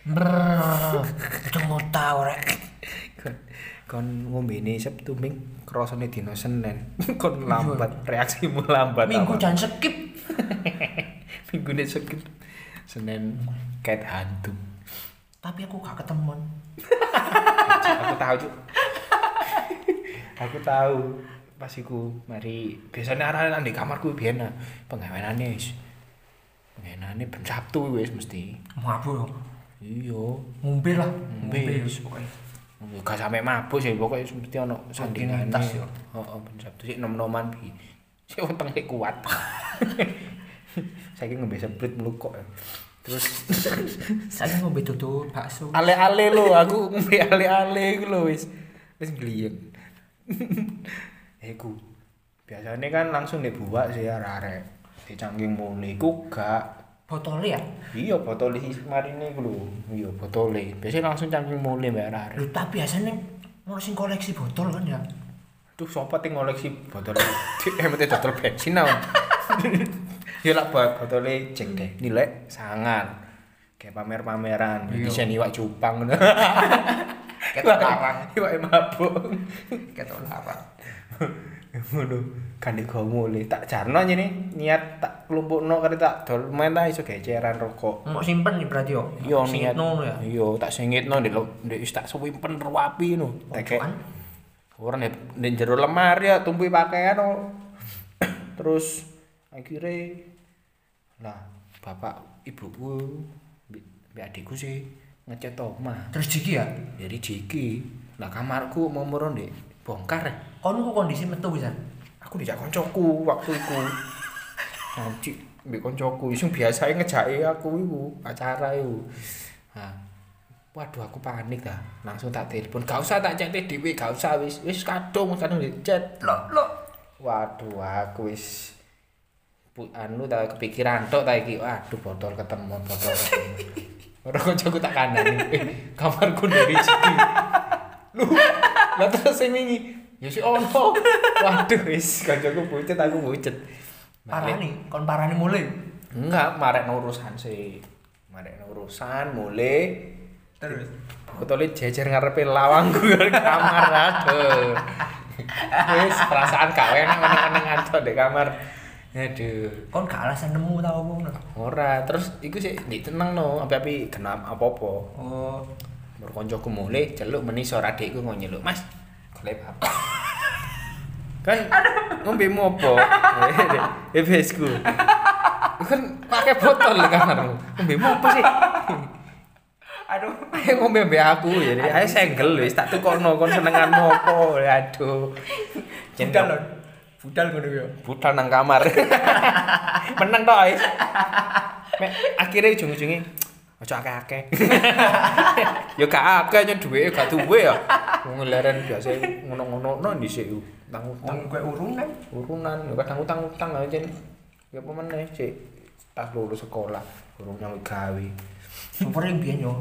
Brrrr, cemuta ora. Kon kon ngombene Sabtu Ming krasane dina Senin. Kon lambat, reaksimu lambat. Minggu apa? jangan skip. Minggu ini sakit. Senin kait hantu. Tapi aku gak ketemuan. aku tahu Cuk. aku tahu pas iku mari biasanya arah-arah di kamarku biyen nah, pengawenane wis pengawenane ben Sabtu wis mesti Mabuk yo. iya Ngombe lah. Ngombe. wis pokoknya. gak sampe mabuk sih pokoknya wis mesti ono sandingane Rutinitas ya. heeh ben Sabtu sik nom-noman bi sik weteng sik kuat saiki ngombe seprit melukok terus Saya ngombe dodol bakso. ale-ale lo aku ngombe ale-ale iku lo wis wis gliyeng iku biasanya kan langsung dibuat sih arek-arek dicangking mulu iku gak Botolnya ya. iya botol isi marine iku lho iya botole biasanya langsung cangking mulu mbak arek Lu tapi biasanya orang sing koleksi botol kan ya. tuh sopo ting ngoleksi botol emete botol bensin tau ya lah buat botolnya cek deh nilai sangan kayak pamer-pameran Iya. bisa iwak cupang ngono. Ketok larang. iwak mabuk Ketok larang. ngono gandhe gomo le tak jarno nyene niat tak klumpukno kare tak dol main ta iso geceran rokok Mau simpen nih berarti yo. yo niat Singitno ya. yo tak singitno ndek lo- ndek wis tak suwimpen ruapi no tekek Pojokan. ora ndek ndek jero lemari ya tumpi pakaian no. terus akhirnya lah bapak ibuku mbek mbek adikku sih ngecat omah Terus jiki ya. jadi jiki lah kamarku mau moro ndek bongkar ya. Kon ku kondisi metu bisa. aku dijak koncoku waktu iku ngaji mbek koncoku sing biasane ngejake aku iku acara iku nah waduh aku panik dah langsung tak telepon gak usah tak chat dhewe gak usah wis wis kadung kadung di chat Lo lo. waduh aku wis pu- anu tak kepikiran tok ta iki waduh botol ketemu botol ketemu ora koncoku tak kandani eh, kamarku dari sini lu lah terus sing wingi ya si ono waduh wis kancaku pucet aku pucet Parah nih. Kon parah nih mulai. enggak marek no urusan sih marek no urusan mulai Terus. botolnya jejer ngarepe lawang gue di kamar aduh wis perasaan gak enak meneng-meneng aja di kamar aduh Kon gak alasan nemu tau wong. ora terus iku sih di tenang no apa api kena apa apa Oh. berkoncoku mulai celuk meni suara adikku ngono nyeluk mas golek bapak kan ngombe mu apa Eh, ebesku kan pakai botol di kamarmu ngombe mu apa sih Aduh. Ayo ngombe mbek aku ya. Ayo senggel wis tak tukokno kon senenganmu apa. Aduh. Budal Jendal lho. Budal ngono yo. budal nang kamar. Menang to, Ais. Mek akhire ujung-ujunge aja akeh-akeh. Ya gak akeh nyen dhuwit gak duwe ya. Wong leren biasa ngono-ngono no dhisik yo. Tang utang Wong kowe urungan. urunan ya kadang utang-utang aja nih. Ya apa meneh sik pas lulus sekolah urung nyambut gawe. Supere biyen yo.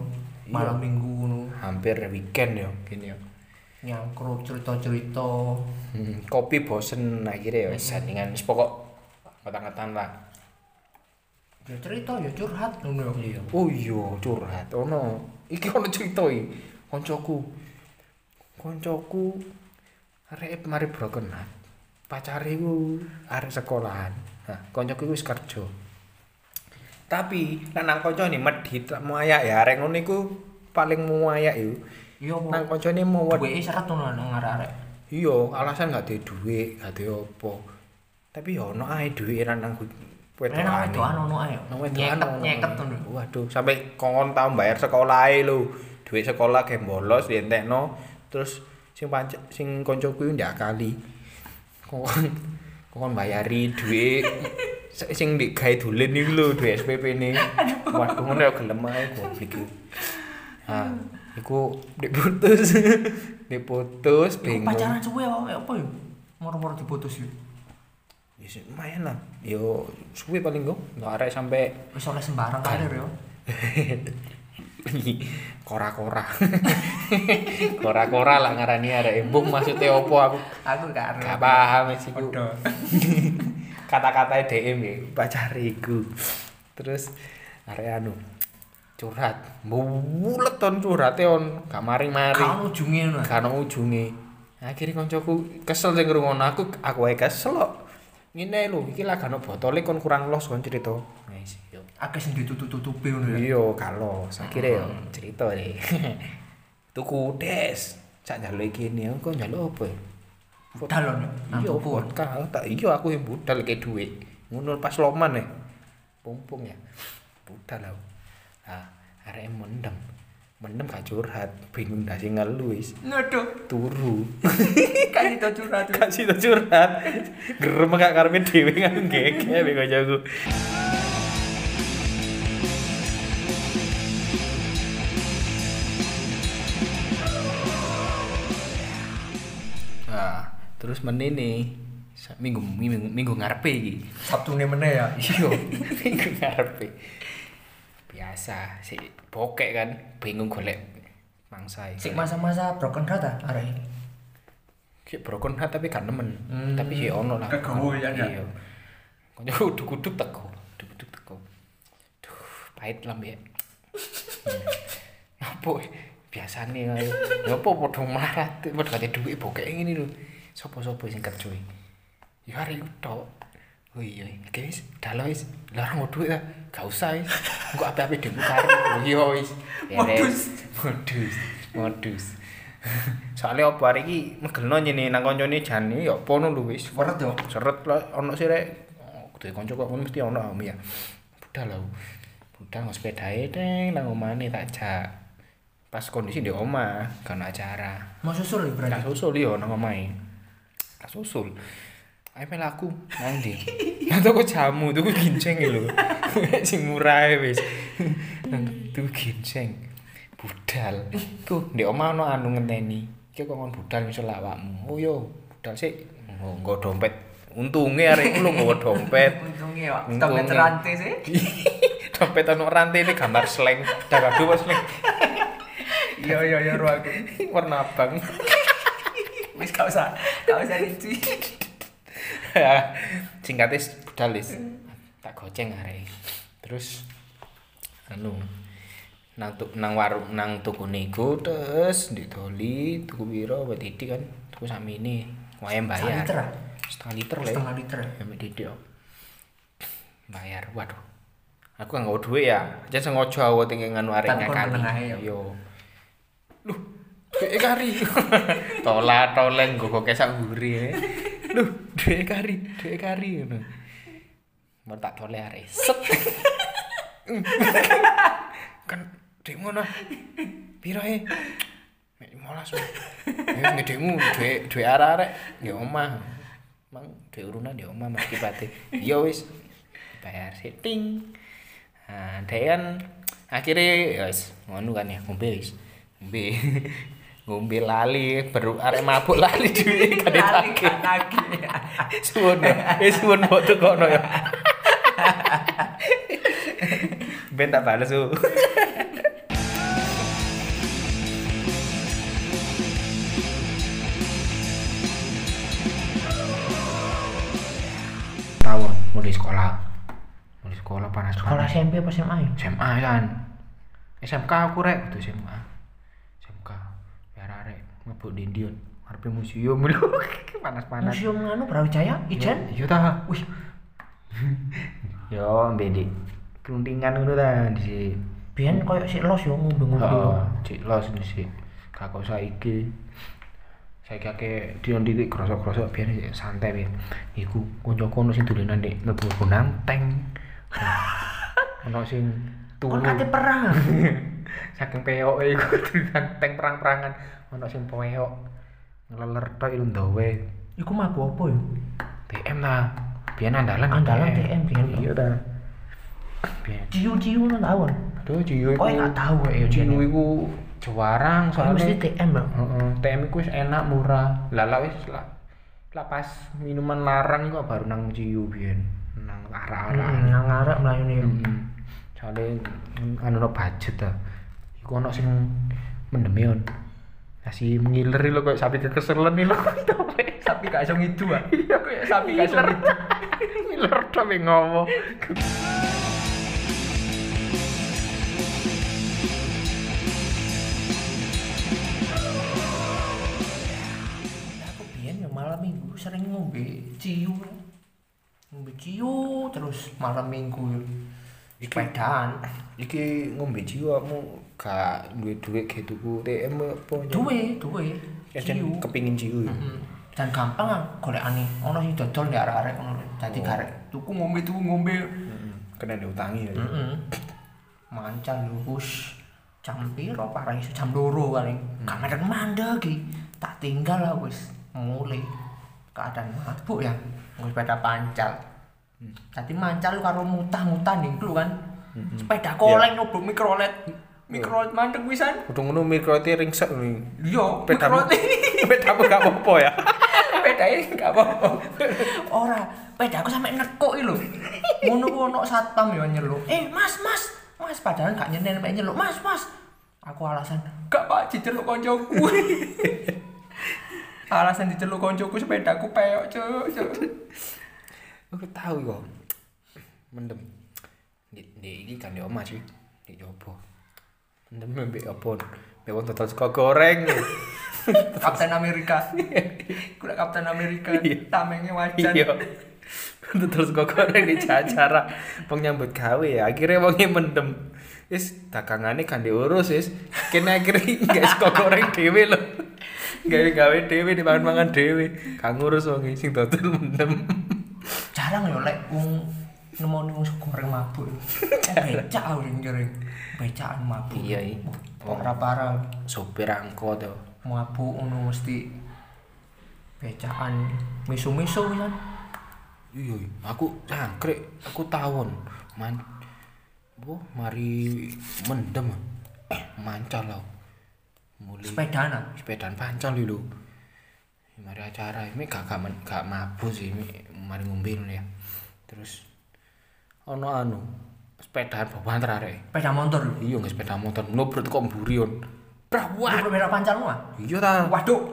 Malam Minggu ngono. Hampir weekend ya gini ya. Nyangkruk cerita-cerita. Hmm, kopi bosen akhirnya ya wis sandingan wis pokok ngetan-ngetan lah. Ya cerita ya curhat ngono yo. Iya. Oh iya curhat ono. Iki ono cerita iki. Koncoku. Koncoku arek mari broken heart. Pacare ku arek sekolahan. Nah, koncoku wis kerja. Tapi lanang konco ini medhit lah, muayak ya arek ngono iku paling muayak yo. Iya apa? Nang koncone mau Duwe syarat ngono nang arek-arek. iya alasan gak ada duit gak ada apa tapi ya ono ae duit lanang ku Enak wedokan ono ae. yo. Nang wedokane Nyeket ono. nyeket ngono. waduh sampai kongkon tau bayar sekolah ae lho duit sekolah ge bolos dientekno terus sing panc- sing kanca ku ndak kali kongkon kongkon bayari duit se- sing di gawe dolen iku lho duit SPP ne waduh ngono ya gelem ae goblok iku ha iku diputus diputus Iku bingung pacaran suwe apa apa yo? Moro-moro diputus yo. Ya sih, lumayan lah. Yo suwe paling go. Nggak arek sampai Wis oleh sembarang karir yo. kora-kora. kora-kora lah ngarani arek embung maksudnya opo aku Aku gak gak arep. paham sih ku. Udah. Kata-katanya DM ya, pacariku. Terus arek anu. curhat mulet ton curhate on gak maring-maring Kan ujungnya ngono. gak ono ujunge. Akhire koncoku kesel sing ngrungokno aku, aku ae kesel kok. Ngene lho, iki lah gak ono botole kon kurang los kon cerita. Wis yo. Akeh sing ditutup-tutupi ngono ya. Iya, gak los. Akhire yo cerita deh. Tuku des. Cak njaluk iki ne, kok njaluk apa? ya? Budal lho. Iya, Iya, pun. Tak iya aku yang budal kayak duit. Ngono pas loman ya. Pumpung ya. Budal aku. Nah, arek mendem. Mendem gak curhat, bingung dah sing ngeluis. Aduh, Turu. kan itu curhat. kasih tak curhat gerem gak karepin dhewe kan gege mbek kancaku nah terus menene sa- minggu minggu, minggu ngarepe iki Sabtu nih meneh ya. iya minggu ngarepe biasa si bokek kan bingung golek mangsa Sik masa-masa broken heart ah arek iki. Kayak broken heart tapi gak nemen. Hmm. Tapi ya ono lah. Kegawa ya, ya. Iya. Konyol kudu-kudu teko, kudu-kudu teko. Duh, pahit lah ya. Apa biasane ae. Ya apa padha melarat, padha kate duwe bokek ngene lho. Sopo-sopo sing kerja iki? Ya hari itu tok. Oh iya, guys, dalo wis larang duit ta. Gak usah wis. Engko ape-ape dhewe karo. Iya wis. Modus. modus modus soalnya apa hari ini megelno nyini nang koncone jani ya apa no lu wis Weret yo. seret lah ono sih rek kudu konco kok ngono mesti ono om ya budal lah budal ngos sepedae teng nang omane tak jak pas kondisi di oma kan acara Mau susul iki berarti. Tak susul yo nang omahe. Tak susul. Ayo melaku nang ndi? Nang toko jamu, tuku ginceng lho. Sing murah ae wis. Nang tuku ginceng. Budal. Ku ndek omah ono anu ngenteni. Iki kok ngon budal misal awakmu. Oh yo, budal sik. Oh, nggo dompet. Untunge arek iku lho nggo dompet. Untungnya ya, Untunge. tapi terantai sih. dompet ono rantai ini gambar sleng. Dak aduh sleng. Iya iya iya ruangku. Warna abang. Wis gak usah, gak usah dicuci. Ya, singkatnya budal wis. Hmm. tak goceng arek terus anu nang tu, nang warung nang tuku niku terus didoli tuku piro buat titik kan tuku sami ini wayang bayar liter, ah? setengah liter lah ya Setengah liter. Ambil didik om. bayar waduh aku nggak ngau duit ya aja sengojo aku tinggi nganu arek Tapi kon menengah nyakari ya. yo lu duit e kari tola toleng gue kok kesak gurih lu duit e kari duit kari ngono. mau tak toleh arek set kan duit ngono piro e mek 15 wae. ya ngedemu duit duit arek-arek di omah mang duit urunan di omah mas kipate ya wis bayar setting nah dhek kan akhirnya ya wis ngono kan ya ngombe wis ngombe ngombe lali baru arek mabuk lali duit kan ditagih lagi. suwun ya. eh suwun mbok tekono ya ben tak bales su tahun mulai sekolah mulai sekolah panas Sekolah SMP apa SMA ya? SMA kan SMK aku rek itu SMA SMK biar arek mabuk dindion ngarepe museum lho panas-panas Museum anu Brawijaya, Ijen. Iya ta. Wih. Yo mbedi. Keluntingan ngono ta dhisik. Biyen koyo sik los yo ngombe-ngombe. Heeh, cik los dhisik. Gak kok saiki. Saiki akeh dion titik krosok-krosok biar sik santai biar. Iku konco-konco ono sing dolenan nek mlebu nanteng. Ono sing Kon turu. kate perang. Saking peoke iku nanteng perang-perangan. Ono sing peok. Ngeleler tok iku ndawe. Iku mabuk apa yo? TM ta. Biyen andalan Andalan TM biyen. Iya ta. Biyen. Ciu-ciu nang tawon. Aduh, Jiyo Koe gak tau kowe yo Jiyo Jen. iku juarang Koe Mesti soalnya. TM bang. Heeh, TM iku wis enak murah. Lah lah wis lah. Lah pas minuman larang kok baru nang Jiyo biyen. Nang arah-arah. Nang arek mlayu yo. Heeh. Soale anu no budget ta. Iku ono sing mendemi on. Nasi ngiler lho kok sapi keselen lho. Sapi gak iso ngidu ah. Iya kok sapi gak iso ngidu. Ngiler tapi ngomong. ciu terus malam minggu sepedaan Iki ngombe jiwa mu gak duwe duit ge tuku TM apa Nyong? duwe duwe Ya, jan ciu kepingin jiwa. ya. Mm. dan gampang ah golekane ono sing dodol ndek arek-arek ngono lho. dadi garek tuku ngombe tuku ngombe Heeh. Kena diutangi ya. heeh mancan lho us jam piro parah iso jam loro paling gak mandek mandek iki tak tinggal lah wis mulai keadaan mabuk ya wis sepeda pancal dadi mancal lu karo mutah-mutah ning lu kan sepeda koleng nyoblok mikrolet mikrolet mandek pisan Kudu ngono mikrote ringsek lho. yo Pedamu. mikrolet Pedamu gak apa-apa ya. pedanya nggak apa-apa ora peda aku sampe nekuk iki lho ngono ku ono satpam yo nyeluk eh mas mas mas padahal gak nyenel mek nyeluk mas mas aku alasan gak pak diceluk koncoku alasan diceluk koncoku sepedaku peyok cuk cuk Aku tahu kok. Mendem. Di, di iki kan di omah sih. Di jopo. Mendem mbek apa? Mbek wong total sego goreng. Kapten Amerika kuda Kapten Amerika tamengnya wajan Iya. Total sego goreng di acara wong nyambut gawe ya. Akhirnya wonge mendem. Is dagangane kan diurus is. Kene akhirnya gak sego goreng dhewe lho. Gawe-gawe dhewe dipangan-mangan dhewe. Gak ngurus wong sing total mendem. jarang yo lek wong nemoni wong sego goreng mabuk. Becak aku sing jering. Becakan mabuk. Iya, iya. Parah-parah Sopir angkot tuh. mabuk ngono mesti becakan misu-misu kan. Iya, aku cangkrik, aku tawon. Man. Bu, mari mendem. Eh, mancal lo. Mulai Sepedaan ah. sepedaan pancal dulu. Mari acara, ini gak gak, men- gak mabuk sih, ini mari ngombe dulu ya. Terus ono anu, sepedaan bawaan terare. Sepeda motor lho. Iya, nggak sepeda motor, nubrut kok mburion. Wah, Prawat. berak pancal mah. Iya ta. Waduh.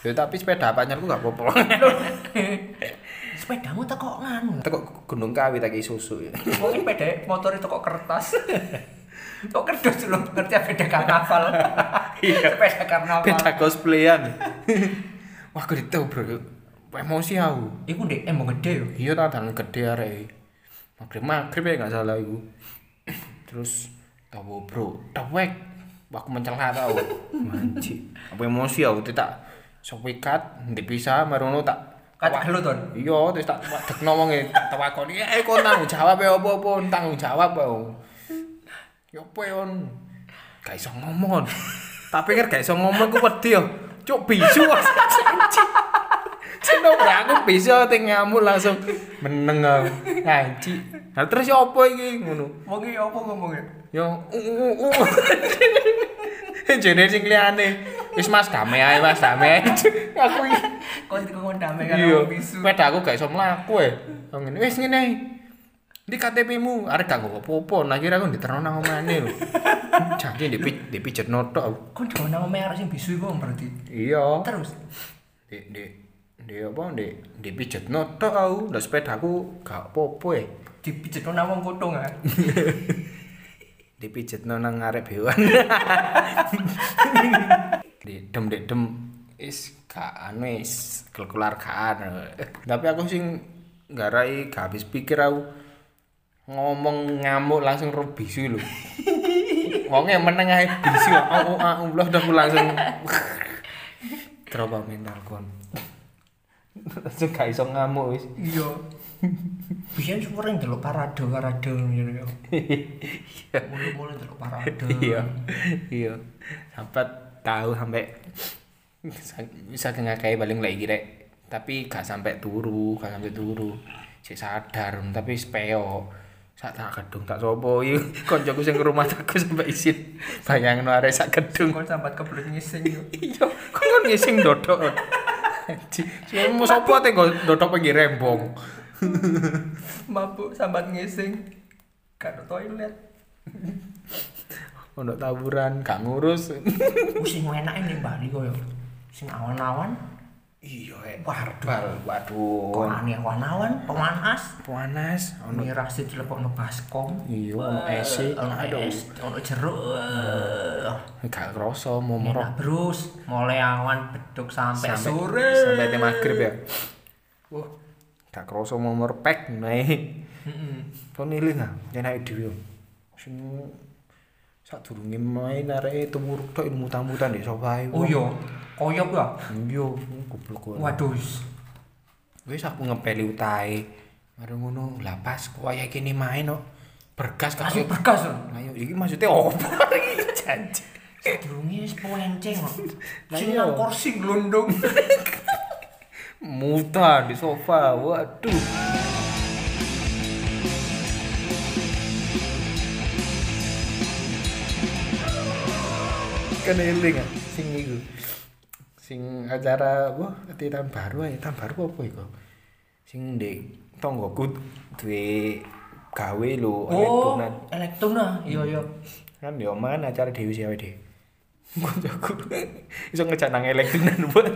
Ya tapi sepeda pancarku gak apa-apa. Sepedamu teko nganu. Tekok gunung kawi tak kei susu ya. Wong sepeda motor itu kok kertas. Kok kerdus lho, ngerti beda karnaval. Iya. Sepeda karnaval. beda cosplayan wah aku ditau bro emosi aku Iku ndek emang gede yo. iya tak tangan gede arek magrib magrib ya nggak salah iku terus tau bro tewek aku mencela tau manci apa emosi aku tuh tak sepikat ndak bisa marono tak Kata gelut ton. iya terus tak tak ngomongnya tak takon ya kon tanggung jawab ya apa apa tanggung jawab ya ya apa ya on gak iso ngomong on tapi kan gak iso ngomong ku wedi yo cuk bisu Mas. Cino aku bisa ting ngamuk langsung meneng aku ngaji. Nah terus ya apa iki ngono? Ya, Wong iki apa ngomongnya? Yo Jene sing liyane. Wis Mas damai ae Mas damai. ae. Aku iki Kok dikongkon damai kan Iya, bisu. sepeda aku gak iso mlaku e. Aku ngene, wis ngene. ae. Di KTP-mu arek gak nggo apa-apa, nah kira aku diterno nang omane lho. Janji dipi dipijet notok aku. Kok dikongkon nama merah sing bisu iku Om, berarti. Iya. Terus Di di di apa di dipijet notok aku. Lah sepedaku gak apa-apa e. dipijet nang wong kutung ah. Dipijetno nang arek bewan. di dem di dem is gak anu is keluargaan. Eh, Tapi aku sing nggarai gak habis pikir aku ngomong ngamuk langsung rebisu lho. Wonge meneng ae bisu. Aku Allah udah aku langsung trauma mental kon. Langsung gak iso ngamuk wis. Iya. Biyen sering delok parade parade ngene yo. Mulu-mulu delok parade. iya iya sampai tahu sampai bisa ngakei paling lagi rek tapi gak sampai turu gak sampai turu cek sadar tapi speo sak tak gedung tak sopo yuk koncoku sing ke rumah aku sampai isin bayangin arek sak gedung Kon sambat kebelet ngising yo. iya kok kan ngising dodok Semua mau sopo teh nggo dodok pengen rembong Mabuk sambat ngising. Gak ada toilet. untuk taburan gak ngurus Ku sing enake ning Bali koyo sing awan-awan, iya waduh. waduh Kok waduh aneh awan-awan, pemanas. panas ono Mirah sih dilepokno baskom. Iya, ono esi, ono es, ono jeruk. eh. gak kerasa mau merok Enak terus, mulai awan beduk sampai Sampai- sore. sampai teh maghrib ya. Wah, gak kerasa mau nah. merpek nih Heeh. kon eling ah enak dhewe sing sak durunge main areke temu tok ilmu tamutan di sofae Oh iya, koyok ya. iya goblok kok Waduh. wis. wis aku ngepeli utahe mari ngono lah pas kaya kene main kok bergas kok Kasih bergas lho. ayo iki maksudnya opo iki janji Eh, Durunge wis polenceng kok. Lah Sing iya. nang kursi glundung. muta di sofa waduh kan eling ah sing iku sing acara wah ati tahun baru ya tahun baru apa iku sing ndek tanggoku duwe gawe lho Oh, elektronan. elektrona. Iya iya. kan yo mana acara dewi siapa deh Kancaku iso ngejak nang elektronan buat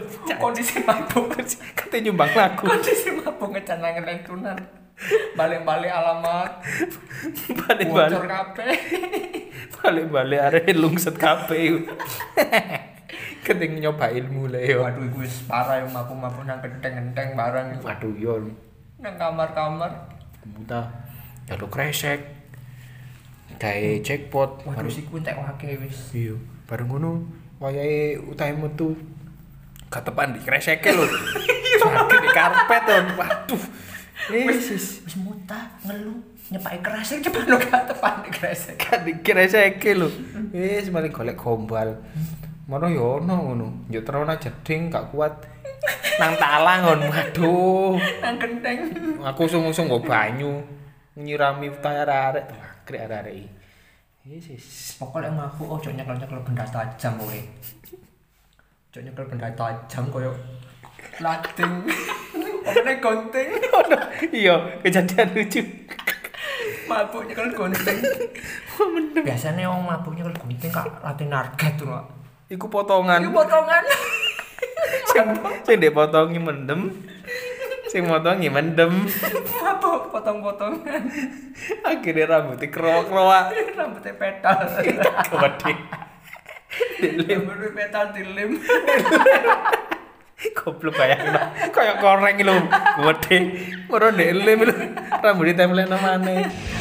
Kondisi mabuk. kate nyumbang lagu Kondisi mabuk ngecanang elektronan. Balik-balik alamat, balik-balik bocor kabeh. balik-balik arek lungset kabeh keting nyoba ilmu le yo Waduh, iku wis parah yang mabuk-mabuk nang genteng-genteng barang waduh yo nang kamar-kamar. buta jadu kresek gawe jackpot Waduh, siku entek wake wis. iya baru ngono wayahe utahe metu katepan di kreseke lho sakit di karpet lho waduh Iya. Wis wis wis muntah, ngelu, nyepake kresek e cepat lo gak e tepan kresek. kan kreseke lho wis maling golek gombal Mono yo ono ngono, yo terona jeding gak kuat. Nang talang kon, waduh. Nang genteng. aku sungguh-sungguh nggo banyu nyirami utang arek-arek grek arek-arek iki yes yes pokoknya yang aku oh, ojo nyekel nyekel benda tajam kowe ojo nyekel benda tajam koyo lating pokoknya gonting iya kejadian lucu mabuk nyekel gonting biasanya orang mabuk nyekel gonting kak lating target tuh kak iku itu potongan potongan sing sing dipotongi mendem sing motongi mendem mabuk potong-potongan akhirnya rambutnya kerok-kerok rambutnya petal kewede rambutnya petal dilem goblok bayang lah kayak koreng lho kewede ngono ndek lem lho rambutnya tempelin namane